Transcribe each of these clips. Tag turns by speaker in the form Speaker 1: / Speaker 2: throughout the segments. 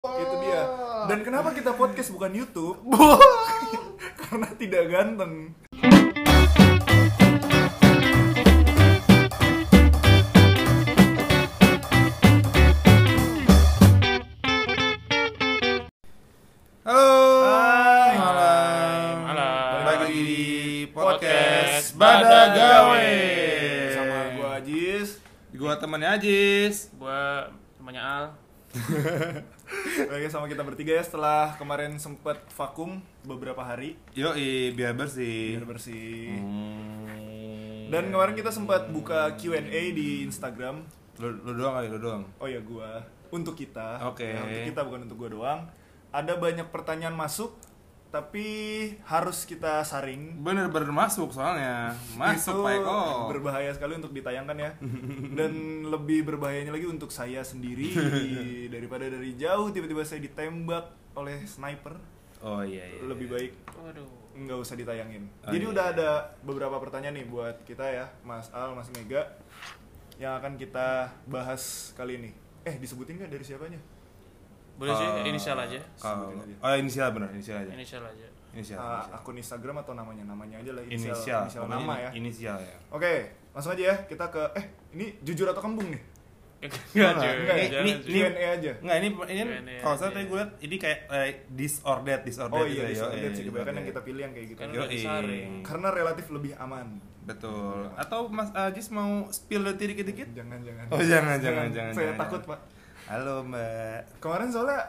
Speaker 1: Oh.
Speaker 2: Dan kenapa kita podcast bukan YouTube? Karena tidak ganteng.
Speaker 1: Halo.
Speaker 2: Hai.
Speaker 3: Malam.
Speaker 1: Balik lagi di
Speaker 3: Podcast
Speaker 1: podcast
Speaker 3: Badagawe.
Speaker 1: Badagawe.
Speaker 2: Sama gua Ajis.
Speaker 1: Gua temannya Ajis.
Speaker 3: Gua temannya Al.
Speaker 2: Lagi sama kita bertiga ya setelah kemarin sempet vakum beberapa hari
Speaker 1: Yoi, biar bersih.
Speaker 2: biar bersih.
Speaker 1: Hmm.
Speaker 2: Dan kemarin kita sempat buka Q&A di Instagram.
Speaker 1: lu, lu doang kali, lu doang.
Speaker 2: Oh ya gua untuk kita.
Speaker 1: Oke.
Speaker 2: Ya, untuk kita bukan untuk gua doang. Ada banyak pertanyaan masuk tapi harus kita saring
Speaker 1: Bener-bener masuk soalnya. Masuk
Speaker 2: itu
Speaker 1: Pak Eko.
Speaker 2: berbahaya sekali untuk ditayangkan ya dan lebih berbahayanya lagi untuk saya sendiri daripada dari jauh tiba-tiba saya ditembak oleh sniper
Speaker 1: Oh iya iya.
Speaker 2: lebih baik
Speaker 3: Waduh.
Speaker 2: nggak usah ditayangin
Speaker 1: Oh,
Speaker 2: jadi
Speaker 1: iya.
Speaker 2: udah ada beberapa pertanyaan nih buat kita ya Mas Al Mas Mega yang akan kita bahas kali ini eh disebutin nggak dari siapanya
Speaker 3: Boleh sih
Speaker 1: Eh,
Speaker 3: inisial aja.
Speaker 1: kalau-
Speaker 2: Sebutin aja.
Speaker 1: Oh, inisial bener, inisial aja.
Speaker 3: Inisial aja.
Speaker 1: Inisial.
Speaker 2: Ah,
Speaker 1: inisial.
Speaker 2: akun Instagram atau namanya namanya aja lah inisial
Speaker 1: Inisial.
Speaker 2: inisial
Speaker 1: pokoknya
Speaker 2: nama
Speaker 1: ini-
Speaker 2: ya
Speaker 1: Inisial ya.
Speaker 2: oke langsung aja ya kita ke eh ini jujur atau kembung nih
Speaker 3: Enggak,
Speaker 1: Enggak,
Speaker 3: cuy.
Speaker 2: enggak ya?
Speaker 3: Jangan,
Speaker 1: Iya, Ini-
Speaker 3: cuy.
Speaker 1: ini-
Speaker 2: Q&A aja
Speaker 1: Enggak, ini ini
Speaker 3: Ini
Speaker 1: kalau
Speaker 3: ya,
Speaker 1: saya
Speaker 3: iya.
Speaker 1: tadi gue lihat ini kayak eh, disordered, disordered
Speaker 2: Oh iya,
Speaker 1: gitu ya,
Speaker 2: disordered
Speaker 1: iya,
Speaker 2: sih kebanyakan yang
Speaker 1: disordered.
Speaker 2: kita pilih yang kayak gitu.
Speaker 3: Kan
Speaker 1: Yoi.
Speaker 3: udah disaring.
Speaker 2: Karena relatif lebih aman.
Speaker 1: Betul. Atau Mas Ajis mau spill dulu dikit-dikit?
Speaker 2: Jangan jangan.
Speaker 1: Oh, jangan, jangan, jangan,
Speaker 2: Saya
Speaker 1: jangan,
Speaker 2: takut
Speaker 1: jangan.
Speaker 2: pak.
Speaker 1: Halo Mbak.
Speaker 2: Kemarin soalnya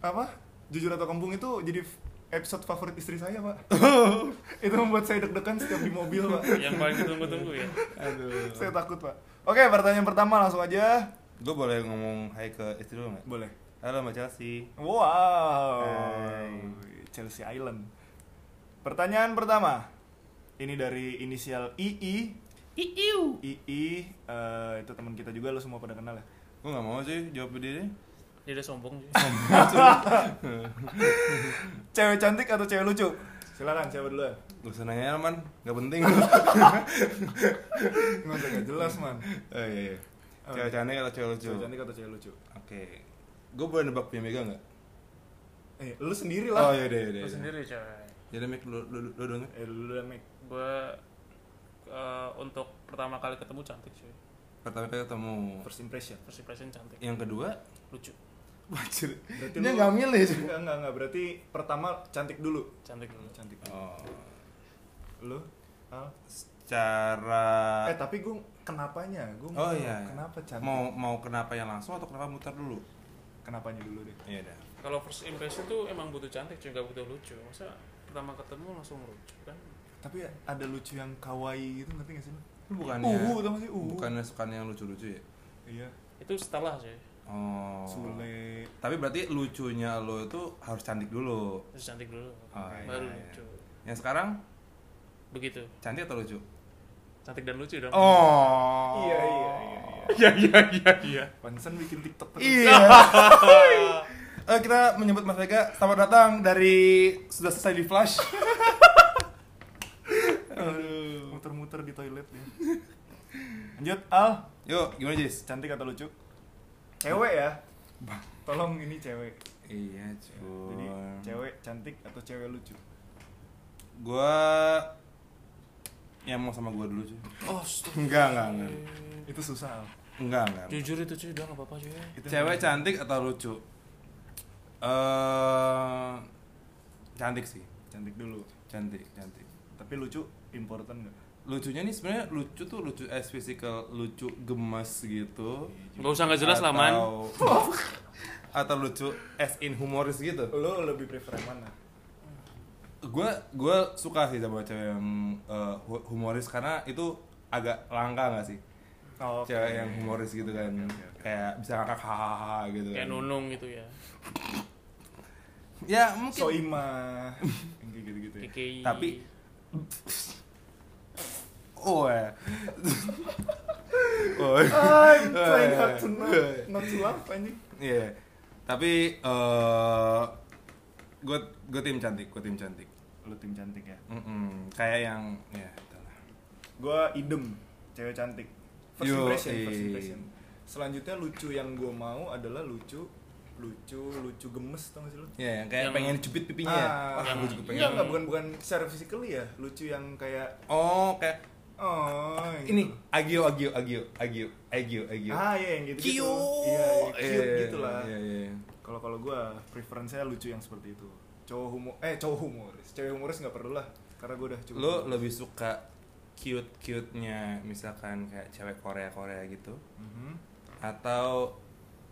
Speaker 2: apa? Jujur atau kembung itu jadi f- episode favorit istri saya pak.
Speaker 1: Oh.
Speaker 2: itu membuat saya deg-degan setiap di mobil pak.
Speaker 3: Yang paling ditunggu-tunggu ya.
Speaker 1: Aduh.
Speaker 2: saya takut pak. Oke pertanyaan pertama langsung aja.
Speaker 1: Gue boleh ngomong hai ke istri lu nggak?
Speaker 2: Boleh.
Speaker 1: Halo Mbak Chelsea.
Speaker 2: Wow.
Speaker 1: Hai.
Speaker 2: Chelsea Island. Pertanyaan pertama. Ini dari inisial II.
Speaker 3: Iiu.
Speaker 2: II eh, itu teman kita juga lo semua pada kenal ya.
Speaker 1: Gue nggak mau sih jawab dia deh.
Speaker 3: Dia udah sombong cuy.
Speaker 2: Cewek cantik atau cewek lucu? Silakan siapa duluan.
Speaker 1: Gak usah nanya man, gak penting.
Speaker 2: Nggak usah nggak jelas man.
Speaker 1: oh iya. iya. Cewek cantik atau cewek lucu?
Speaker 2: Cewek
Speaker 1: Oke.
Speaker 2: cantik atau cewek lucu?
Speaker 1: Gue boleh nebak dia mega nggak?
Speaker 2: Eh, lu sendiri lah.
Speaker 1: Oh iya deh deh.
Speaker 3: Lu sendiri coy.
Speaker 1: Jadi Mik lu lu lu, lu dong.
Speaker 2: Eh,
Speaker 1: ya.
Speaker 2: lu duluan Mik.
Speaker 3: Gua eh, untuk pertama kali ketemu cantik cuy.
Speaker 1: Pertama kali ketemu.
Speaker 2: First impression.
Speaker 3: First impression cantik.
Speaker 1: Yang kedua,
Speaker 3: Lucu.
Speaker 1: wajir.
Speaker 2: Berarti
Speaker 1: Dia
Speaker 2: lu-
Speaker 1: nggak milih. sih.
Speaker 2: Enggak, enggak, enggak. Berarti pertama cantik dulu.
Speaker 3: Cantik dulu.
Speaker 2: Cantik.
Speaker 1: Oh.
Speaker 2: Lu? Al?
Speaker 1: Secara
Speaker 2: Eh, tapi gue kenapanya? Gue
Speaker 1: Oh iya. iya.
Speaker 2: Kenapa cantik?
Speaker 1: Mau mau kenapa yang langsung atau kenapa muter dulu?
Speaker 2: Kenapanya dulu deh.
Speaker 1: Iya dah.
Speaker 3: Kalau first impression tuh emang butuh cantik cuy, gak butuh lucu. Masa pertama ketemu langsung lucu kan?
Speaker 2: Tapi ada lucu yang kawaii gitu ngerti gak sih lu?
Speaker 1: Lu bukannya
Speaker 2: Uhu, tau gak sih? Uhu.
Speaker 1: bukannya suka yang lucu-lucu ya?
Speaker 2: Iya.
Speaker 3: Itu setelah cuy.
Speaker 1: Oh.
Speaker 2: Sule.
Speaker 1: Tapi berarti lucunya lo itu harus cantik dulu.
Speaker 3: Terus cantik dulu.
Speaker 1: Oh, iya,
Speaker 3: baru
Speaker 1: iya.
Speaker 3: lucu.
Speaker 1: Yang sekarang
Speaker 3: Begitu.
Speaker 1: cantik atau lucu?
Speaker 3: Cantik dan lucu dong.
Speaker 1: Oh.
Speaker 2: Iya, iya, iya, iya.
Speaker 3: Iya iya iya iya.
Speaker 2: Pantesan bikin TikTok terus.
Speaker 1: Iya. Eh, kita menyebut Mas Vega selamat datang dari sudah selesai di flash. Aduh.
Speaker 2: muter-muter di toilet dia. Lanjut Al,
Speaker 1: Yuk, gimana Jis?
Speaker 2: cantik atau lucu? Cewek ya. Tolong ini cewek.
Speaker 1: Iya,
Speaker 2: Jadi cewek cantik atau cewek lucu?
Speaker 1: Gua yang mau sama gua dulu cuy.
Speaker 3: Oh, stop.
Speaker 1: Enggak, enggak, enggak.
Speaker 2: Itu susah. Al.
Speaker 1: Enggak, enggak.
Speaker 3: Jujur itu cuy, udah gak apa-apa cuy.
Speaker 2: Itu
Speaker 1: Cewek cantik atau lucu? Eh cantik sih.
Speaker 2: cantik dulu.
Speaker 1: Cantik, cantik.
Speaker 2: Tapi lucu important nggak?
Speaker 1: Lucunya nih sebenarnya lucu tuh lucu as physical, lucu gemes gitu.
Speaker 2: Iya
Speaker 3: Gak usah gak jelas lah man.
Speaker 1: Atau- Atau lucu as in humoris gitu.
Speaker 2: Lo lebih prefer yang mana?
Speaker 1: Gue gua suka sih sama cewek yang eh, hu- humoris karena itu agak langka gak sih?
Speaker 2: Oh, oke.
Speaker 1: Cewek yang
Speaker 3: Iya.
Speaker 1: humoris gitu kan.
Speaker 2: oke, oke.
Speaker 1: Kayak bisa ngakak hahaha gitu
Speaker 3: Kayak
Speaker 1: kan.
Speaker 3: nunung gitu ya.
Speaker 1: Ya, mungkin
Speaker 2: Soimah. Yang kayak gitu-gitu ya.
Speaker 3: Kiki.
Speaker 1: Tapi- Oh, eh. oh.
Speaker 2: I'm
Speaker 1: trying hard to
Speaker 2: not, not to laugh anjing.
Speaker 1: Iya. Tapi gue gue tim cantik, gue tim cantik.
Speaker 2: Lo tim cantik ya.
Speaker 1: Mm-mm. Kayak yang ya. itulah.
Speaker 2: Gua idem cewek cantik. First
Speaker 1: Yo,
Speaker 2: impression,
Speaker 1: eh.
Speaker 2: first impression. Selanjutnya lucu yang gue mau adalah lucu lucu lucu gemes tau gak sih lu
Speaker 1: ya yang kayak
Speaker 3: Yang-
Speaker 1: pengen jepit pipinya ya
Speaker 2: Ah,
Speaker 1: wah
Speaker 3: yang-
Speaker 1: gue juga pengen
Speaker 2: enggak, enggak, bukan bukan secara physically ya lucu yang kayak
Speaker 1: oh kayak
Speaker 2: oh yang
Speaker 1: ini
Speaker 2: gitu.
Speaker 1: agio agio agio agio agio agio
Speaker 2: ah iya yang gitu gitu
Speaker 1: Cute.
Speaker 2: iya iya, cute
Speaker 1: Iya,
Speaker 2: gitu lah
Speaker 1: iya, iya.
Speaker 2: kalau kalau gue preference saya lucu yang seperti itu cowok humor eh cowok humoris cewek humoris nggak perlu lah karena gue udah cukup
Speaker 1: lo lebih suka cute cute nya misalkan kayak cewek Korea Korea gitu
Speaker 2: Mhm.
Speaker 1: atau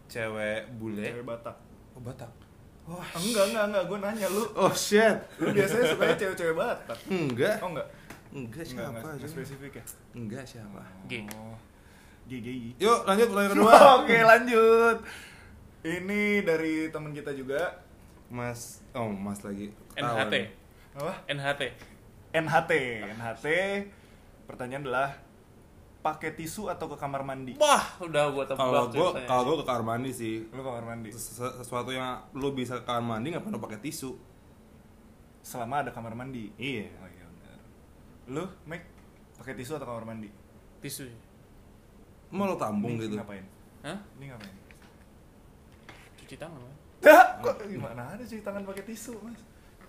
Speaker 1: cewek bule
Speaker 2: cewek batak Ah,
Speaker 1: oh, Batak wah
Speaker 2: enggak enggak enggak gue nanya lu
Speaker 1: oh shit
Speaker 2: lu biasanya sukanya cewek-cewek batak
Speaker 1: enggak
Speaker 2: oh enggak
Speaker 1: enggak
Speaker 2: Enggak,
Speaker 1: siapa
Speaker 2: enggak,
Speaker 1: aja
Speaker 2: enggak spesifik ya
Speaker 1: enggak siapa
Speaker 3: Gay.
Speaker 2: Oh. Gay, gay.
Speaker 1: yuk lanjut pertanyaan kedua
Speaker 2: Oke, lanjut. Ini dari teman kita juga.
Speaker 1: mas oh mas lagi ketawa
Speaker 3: NHT
Speaker 1: nih.
Speaker 2: Apa?
Speaker 3: NHT
Speaker 2: NHT. NHT. Pertanyaan adalah pakai tisu atau ke kamar mandi?
Speaker 3: wah udah gua tebak
Speaker 1: kalau gue
Speaker 3: ceritanya.
Speaker 1: kalau gue ke kamar mandi sih
Speaker 2: Lu kamar mandi.
Speaker 1: Ses- sesuatu yang lu bisa ke kamar mandi nggak perlu pakai tisu
Speaker 2: Selama ada kamar mandi.
Speaker 1: iya
Speaker 2: Oh iya benar. Lu, Mike, pakai tisu atau kamar mandi?
Speaker 3: tisu ya?
Speaker 1: mau lo
Speaker 2: Ini
Speaker 1: tambung gitu
Speaker 2: Ngapain?
Speaker 3: Hah?
Speaker 2: Ini ngapain?
Speaker 3: cuci tangan Mas.
Speaker 2: Dah, kok Oh, gimana ada cuci tangan pakai tisu, Mas?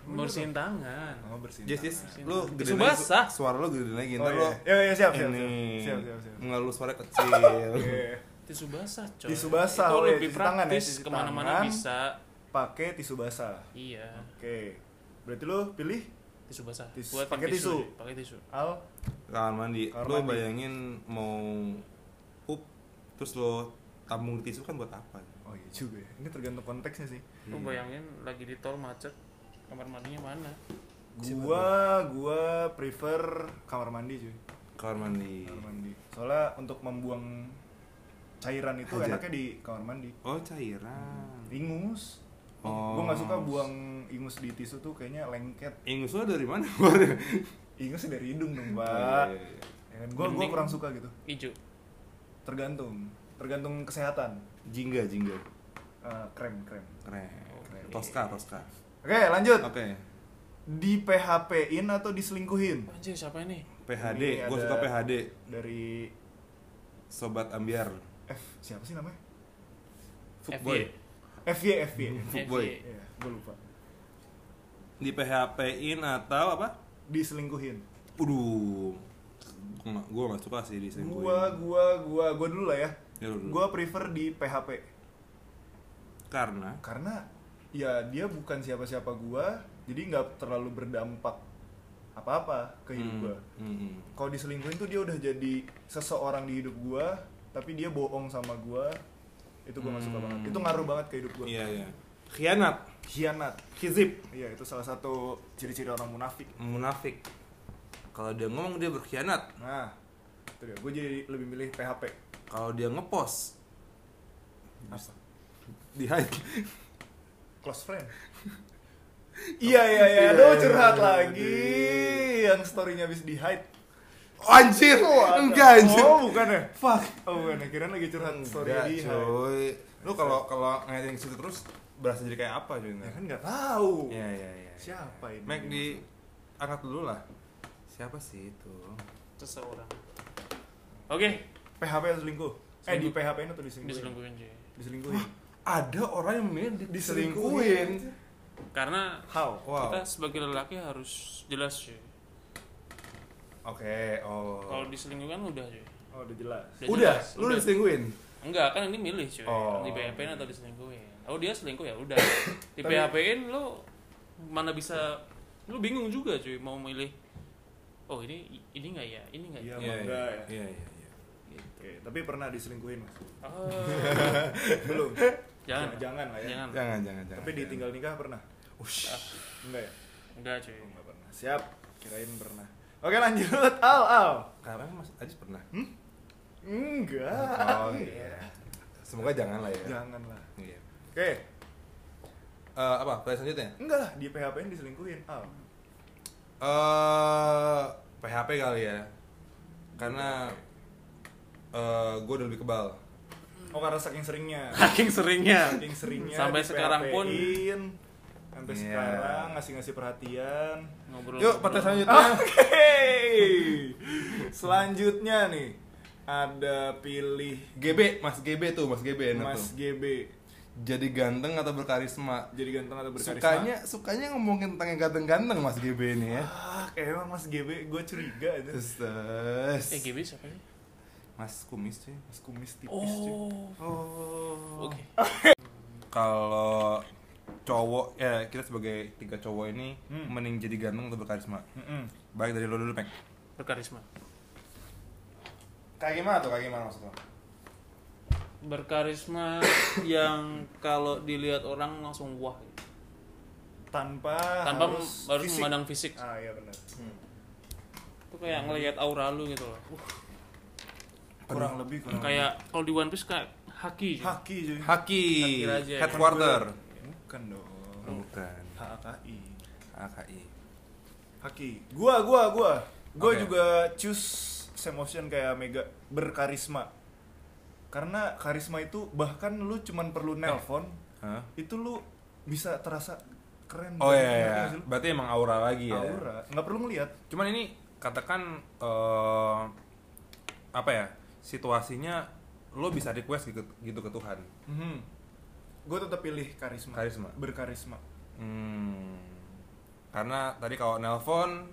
Speaker 3: bersihin tangan
Speaker 2: Oh, bersihin.
Speaker 1: Yes, yes.
Speaker 2: tangan.
Speaker 1: Lu
Speaker 3: Tisu
Speaker 1: gedein
Speaker 3: basah.
Speaker 1: lagi, suara lu gedein lagi, ntar
Speaker 2: Oh,
Speaker 1: lu
Speaker 2: iya. Iya, iya, siap, siap,
Speaker 1: Gitu ini Mm.
Speaker 2: siap. Siap, siap, siap. Iya.
Speaker 1: Nggak lu suara kecil
Speaker 2: Oke.
Speaker 3: tisu basah coy
Speaker 2: Tisu basah,
Speaker 3: itu
Speaker 2: oh iya,
Speaker 3: lebih
Speaker 2: cuci tangan ya,
Speaker 3: praktis
Speaker 2: cuci
Speaker 3: kemana-mana
Speaker 2: tangan.
Speaker 3: bisa
Speaker 2: Pakai tisu basah.
Speaker 3: iya
Speaker 2: Oke. Berarti lu pilih
Speaker 3: tisu basah
Speaker 2: Tisu.
Speaker 3: Buatin
Speaker 2: Pakai tisu.
Speaker 3: deh, pakai tisu
Speaker 2: Al
Speaker 1: Kamar mandi,
Speaker 2: Kamar
Speaker 1: lu
Speaker 2: mandi.
Speaker 1: bayangin mau up Terus lu tambung di tisu kan buat apa?
Speaker 2: Oh iya juga ya. Ini tergantung konteksnya sih.
Speaker 3: lu bayangin lagi di tol macet kamar mandinya mana
Speaker 2: Gua gua prefer kamar mandi cuy.
Speaker 1: Kamar mandi
Speaker 2: Kamar mandi. Soalnya untuk membuang cairan itu
Speaker 1: Hajat.
Speaker 2: enaknya di kamar mandi.
Speaker 1: Oh cairan
Speaker 2: Ingus.
Speaker 1: Oh.
Speaker 2: Gua nggak suka buang ingus di tisu tuh kayaknya lengket.
Speaker 1: Ingus lu dari mana? Bor?
Speaker 2: Ingus dari hidung dong,
Speaker 1: Oh,
Speaker 2: Pak.
Speaker 1: iya, iya.
Speaker 2: Ya kan? Gua gua
Speaker 3: Mending-
Speaker 2: kurang suka gitu.
Speaker 3: hijau
Speaker 2: Tergantung. Tergantung kesehatan.
Speaker 1: Jingga, jingga
Speaker 2: Eh, krem, krem.
Speaker 1: Keren
Speaker 3: Oke.
Speaker 1: Tosca, Tosca
Speaker 2: Oke, lanjut.
Speaker 1: Oke
Speaker 2: Di PHP-in atau diselingkuhin?
Speaker 3: anjir siapa ini
Speaker 2: Ini
Speaker 1: PHD, gua
Speaker 2: ada-
Speaker 1: suka PHD
Speaker 2: Dari
Speaker 1: Sobat Ambiar
Speaker 2: F siapa sih namanya?
Speaker 1: Footboy
Speaker 2: FY FY.
Speaker 1: Hmm.
Speaker 3: Eh,
Speaker 1: Footboy
Speaker 2: Iya, gue lupa.
Speaker 1: Di PHP-in atau apa?
Speaker 2: Diselingkuhin.
Speaker 1: Waduh, gue gak, gua nggak suka sih diselingkuhin.
Speaker 2: Gua gua gua gua dulu lah ya.
Speaker 1: Ya lu dulu.
Speaker 2: Gua prefer di PHP
Speaker 1: karena
Speaker 2: karena ya dia bukan siapa-siapa gua, jadi nggak terlalu berdampak apa-apa ke hidup
Speaker 1: Hmm,
Speaker 2: gua.
Speaker 1: hmm, hmm.
Speaker 2: Kalau diselingkuhin tuh dia udah jadi seseorang di hidup gua, tapi dia bohong sama gua. Itu gua nggak suka
Speaker 1: Hmm.
Speaker 2: banget. Itu ngaruh banget ke hidup gua.
Speaker 1: Iya iya. Khianat,
Speaker 2: Khianat.
Speaker 1: kizib,
Speaker 2: Iya, itu salah satu ciri-ciri orang munafik.
Speaker 1: munafik. Kalau dia ngomong dia berkhianat.
Speaker 2: Nah, itu dia. Gue jadi lebih milih PHP.
Speaker 1: Kalau dia ngepost
Speaker 2: Apa?
Speaker 1: di hide.
Speaker 2: close friend. iya iya iya, aduh curhat
Speaker 1: Iya,
Speaker 2: lagi yang storynya habis di hide.
Speaker 1: anjir, enggak anjir.
Speaker 2: Oh bukan ya?
Speaker 1: fuck.
Speaker 2: Oh bukan ya, kirain lagi curhat story
Speaker 1: Enggak,
Speaker 2: di hide.
Speaker 1: coy. Lu kalau kalau ngeliatin ke situ terus berasa jadi kayak apa coy?
Speaker 2: Ya kan nggak tahu.
Speaker 1: Iya iya iya.
Speaker 2: Siapa ini?
Speaker 1: Mac di angkat dulu lah. Siapa sih itu?
Speaker 3: seseorang oke
Speaker 2: PHP atau selingkuh? Eh di
Speaker 3: Selingkuh.
Speaker 2: PHP atau diselingkuhin?
Speaker 3: diselingkuhin cuy
Speaker 2: Diselingkuhin.
Speaker 1: Ada orang yang memilih di-
Speaker 2: Diselingkuhin.
Speaker 3: karena
Speaker 2: How?
Speaker 1: Wow.
Speaker 3: kita sebagai lelaki harus jelas cuy
Speaker 1: Oke, oh.
Speaker 3: kalau diselingkuhin udah cuy
Speaker 2: Oh udah jelas.
Speaker 1: udah,
Speaker 3: jelas,
Speaker 1: lu
Speaker 3: udah.
Speaker 1: diselingkuhin.
Speaker 3: Enggak, kan ini milih cuy.
Speaker 1: Oh.
Speaker 3: Di PHP atau diselingkuhin. Kalau dia selingkuh ya udah. Di
Speaker 2: Tapi-
Speaker 3: PHP-in lu mana bisa lu bingung juga cuy mau milih. Oh, ini ini enggak ya? Ini enggak
Speaker 2: Iya,
Speaker 3: ya?
Speaker 2: Iya, iya,
Speaker 1: iya, iya.
Speaker 2: Oke, tapi pernah diselingkuhin mas?
Speaker 3: Oh.
Speaker 2: Belum.
Speaker 3: jangan.
Speaker 2: Ya, jangan lah ya.
Speaker 3: Jangan.
Speaker 1: Jangan, jangan, jangan.
Speaker 2: Tapi ditinggal nikah pernah?
Speaker 1: Ush.
Speaker 2: Enggak ya?
Speaker 3: Enggak cuy.
Speaker 2: Oh, nggak pernah. Siap. Kirain pernah. Oke lanjut. Al al.
Speaker 1: Karena Mas Adis pernah.
Speaker 2: Enggak.
Speaker 1: Oh iya. Semoga jangan lah ya.
Speaker 2: Jangan lah.
Speaker 1: Iya.
Speaker 2: Oke.
Speaker 1: Eh, apa? Pertanyaan selanjutnya?
Speaker 2: Enggak lah, di PHP ini diselingkuhin. Al.
Speaker 1: Eh, PHP kali ya. Karena eh gue udah lebih kebal.
Speaker 2: Oh, karena saking seringnya.
Speaker 3: Saking seringnya.
Speaker 2: Saking seringnya.
Speaker 3: Iya. Sampai
Speaker 2: di
Speaker 3: sekarang pun.
Speaker 2: PHP-in, sampai
Speaker 1: Iya.
Speaker 2: sekarang ngasih-ngasih perhatian.
Speaker 3: Ngobrol.
Speaker 1: Yuk, pertanyaan
Speaker 3: ngobrol.
Speaker 1: selanjutnya.
Speaker 2: Oke. Selanjutnya nih ada pilih
Speaker 1: GB, Mas GB tuh, Mas GB enak
Speaker 2: Mas
Speaker 1: tuh.
Speaker 2: GB.
Speaker 1: jadi ganteng atau berkarisma?
Speaker 2: jadi ganteng atau berkarisma
Speaker 1: Sukanya sukanya ngomongin tentang yang ganteng-ganteng Mas GB ini ya.
Speaker 2: ah emang mas GB gue curiga aja
Speaker 1: Terus.
Speaker 3: Eh, GB siapa sih?
Speaker 1: Mas kumis cuy.
Speaker 2: mas kumis tipis cuy.
Speaker 3: Oh.
Speaker 2: oh
Speaker 3: Oke.
Speaker 1: Kalau cowok ya kita sebagai tiga cowok ini
Speaker 2: Hmm.
Speaker 1: mending jadi ganteng atau berkarisma.
Speaker 2: Mm-mm.
Speaker 1: Baik dari lo dulu, Peng.
Speaker 3: Berkarisma.
Speaker 1: Kayak gimana tuh? Kayak gimana maksud lo?
Speaker 3: Berkarisma yang kalau dilihat orang langsung wah. gitu.
Speaker 2: tanpa
Speaker 3: Tanpa
Speaker 2: Ah, harus,
Speaker 3: harus, memandang fisik.
Speaker 2: ah iya benar
Speaker 3: Itu kayak ngelihat aura lu gitu loh. Uh,
Speaker 2: kurang lebih kurang
Speaker 3: kayak iya. kalau di One Piece kayak haki. gitu.
Speaker 2: lebih. Hmm. haki cuy
Speaker 3: cuy.
Speaker 2: Ya,
Speaker 1: Haki,
Speaker 3: Haki Raja.
Speaker 1: headquarter.
Speaker 2: bukan dong
Speaker 1: Bukan.
Speaker 2: HAKI
Speaker 1: AKI.
Speaker 2: haki gua gua gua gua
Speaker 1: Oke.
Speaker 2: juga choose same option kayak Mega berkarisma karena karisma itu bahkan lu cuman perlu nelpon
Speaker 1: Hah?
Speaker 2: itu lu bisa terasa keren
Speaker 1: Oh
Speaker 2: banget.
Speaker 1: iya, iya.
Speaker 2: Ngerti nggak sih lu?
Speaker 1: Berarti emang aura lagi ya.
Speaker 2: aura nggak perlu ngeliat
Speaker 1: Cuman ini katakan eh, apa ya? Situasinya lo bisa request gitu, gitu ke Tuhan.
Speaker 2: gue tetap pilih karisma
Speaker 1: Karisma.
Speaker 2: berkarisma
Speaker 1: Hmm. Karena tadi kalau nelpon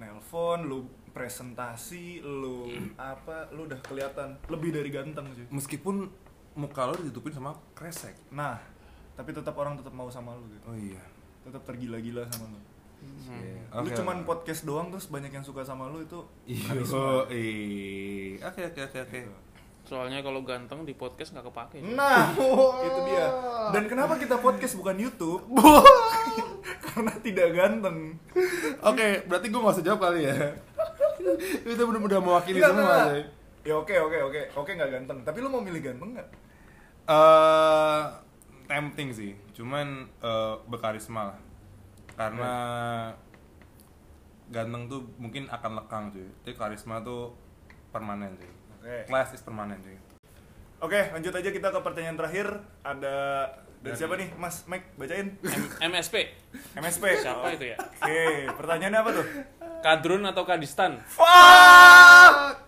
Speaker 2: nelpon lu presentasi lu apa lu udah kelihatan lebih dari ganteng sih
Speaker 1: meskipun muka lo ditutupin sama kresek.
Speaker 2: nah tapi tetap orang tetap mau sama lu gitu
Speaker 1: Oh iya.
Speaker 2: tetap tergila-gila sama lu
Speaker 3: Hmm.
Speaker 1: Iya.
Speaker 2: lu
Speaker 1: Oke, Iya.
Speaker 2: cuman
Speaker 1: oke.
Speaker 2: podcast doang terus banyak yang suka sama lu itu
Speaker 1: Iyo, ih. Oke oke oke oke.
Speaker 2: Gitu.
Speaker 3: Soalnya kalau ganteng di podcast nggak kepake. cuy.
Speaker 2: Nah, itu dia. Dan kenapa kita podcast bukan YouTube? Karena tidak ganteng.
Speaker 1: Oke, berarti gue gak usah jawab kali ya. Itu bener-bener mewakili
Speaker 2: Nggak,
Speaker 1: semua.
Speaker 2: nggak, nggak.
Speaker 1: coy.
Speaker 2: Ya oke oke oke oke nggak ganteng. Tapi lu mau milih ganteng nggak?
Speaker 1: eh tempting sih, cuman eh, berkarisma lah. Karena ganteng tuh mungkin akan lekang cuy. Tapi karisma tuh permanen cuy.
Speaker 2: Oke.
Speaker 1: Class is permanen cuy.
Speaker 2: Oke lanjut aja kita ke pertanyaan terakhir. Ada dari
Speaker 1: Dari-
Speaker 2: siapa nih Mas Mike bacain
Speaker 3: M- MSP.
Speaker 2: MSP.
Speaker 3: Siapa itu ya?
Speaker 2: Oke pertanyaannya apa tuh?
Speaker 3: Kadrun atau Kadistan?
Speaker 2: Fuck.